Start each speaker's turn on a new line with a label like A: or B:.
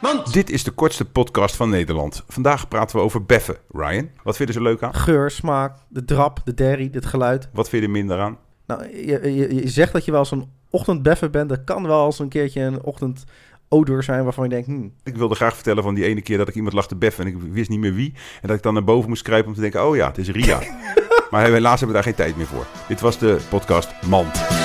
A: Want
B: Dit is de kortste podcast van Nederland. Vandaag praten we over beffen. Ryan, wat vind je er zo leuk aan?
C: Geur, smaak, de drap, de derry, dit geluid.
B: Wat vind je er minder aan?
C: Nou, je, je, je zegt dat je wel zo'n ochtendbeffer bent. Dat kan wel eens een keertje een ochtendodor zijn waarvan je denkt... Hmm,
B: Ik wilde graag vertellen van die ene keer dat ik iemand lag te beffen en ik wist niet meer wie. En dat ik dan naar boven moest kruipen om te denken, oh ja, het is Ria. maar helaas hebben we daar geen tijd meer voor. Dit was de podcast Mand.